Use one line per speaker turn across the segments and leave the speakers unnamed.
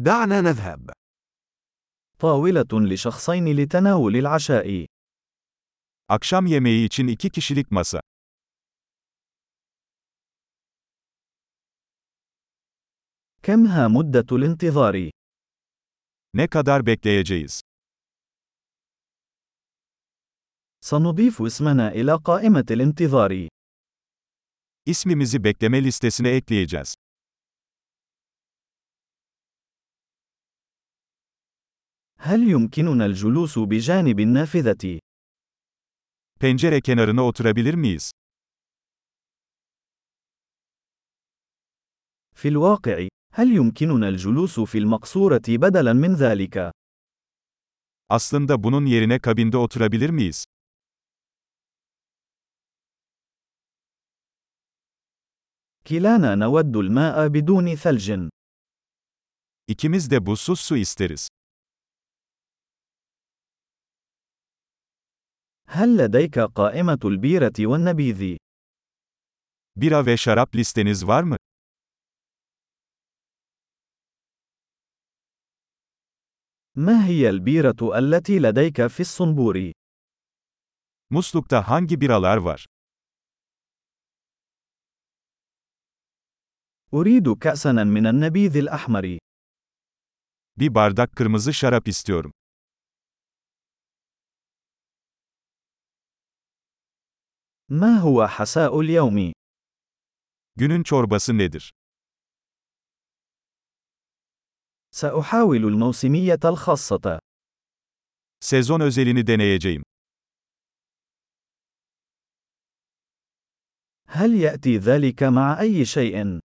دعنا نذهب.
طاولة لشخصين لتناول العشاء.
Akşam yemeği için iki kişilik masa.
كمها مدة الانتظار؟
Ne kadar bekleyeceğiz?
سنضيف اسمنا إلى قائمة الانتظار.
İsmimizi bekleme listesine ekleyeceğiz.
هل يمكننا الجلوس بجانب النافذة؟
Pencere kenarına oturabilir miyiz?
في الواقع، هل يمكننا الجلوس في المقصورة بدلاً من ذلك؟
Aslında bunun yerine kabinde oturabilir miyiz?
كلانا نود الماء بدون ثلج.
İkimiz de buzsuz su isteriz.
هل لديك قائمة البيرة والنبيذ؟
Bira ve şarap listeniz var mı?
ما هي البيرة التي لديك في الصنبور؟
Muslukta hangi biralar var?
أريد كأساً من النبيذ الأحمر.
Bir bardak kırmızı şarap istiyorum.
ما هو حساء اليوم؟
Günün çorbası nedir?
سأحاول الموسمية الخاصة.
Sezon özelini deneyeceğim.
هل يأتي ذلك مع أي شيء؟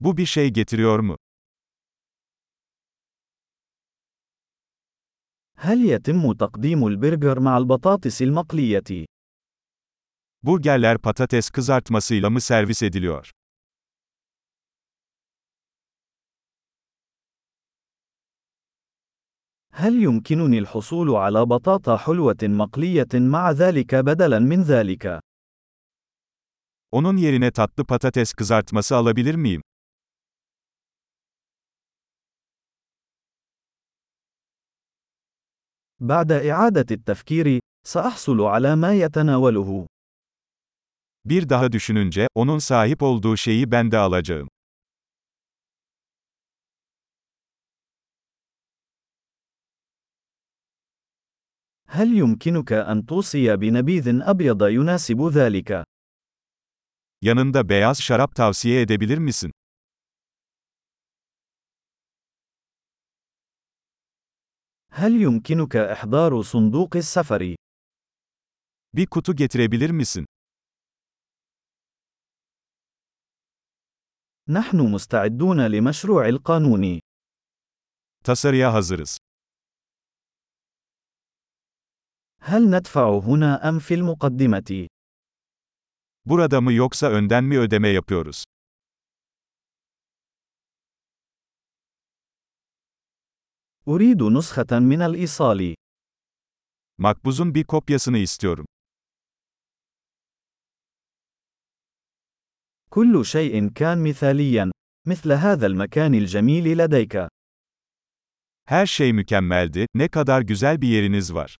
Bu bir şey getiriyor mu?
هل يتم تقديم البرجر مع البطاطس المقلية؟
Burgerler patates kızartmasıyla mı servis ediliyor?
هل يمكنني الحصول على بطاطا حلوة مقلية مع ذلك بدلاً من ذلك؟
Onun yerine tatlı patates kızartması alabilir miyim?
بعد إعادة التفكير، سأحصل على ما يتناوله.
Bir daha düşününce, onun sahip olduğu şeyi ben de alacağım.
هل يمكنك أن توصي بنبيذ أبيض يناسب ذلك؟
Yanında beyaz şarap tavsiye edebilir misin?
هل يمكنك إحضار صندوق السفر؟
Bir kutu getirebilir misin?
نحن مستعدون لمشروع القانون.
Tasarıya hazırız.
هل ندفع هنا أم في المقدمة؟
Burada mı yoksa önden mi ödeme yapıyoruz?
أريد نسخة من الإيصال.
Makbuzun bir kopyasını istiyorum.
كل شيء كان مثاليا، مثل هذا المكان الجميل لديك.
Her şey mükemmeldi, ne kadar güzel bir yeriniz var.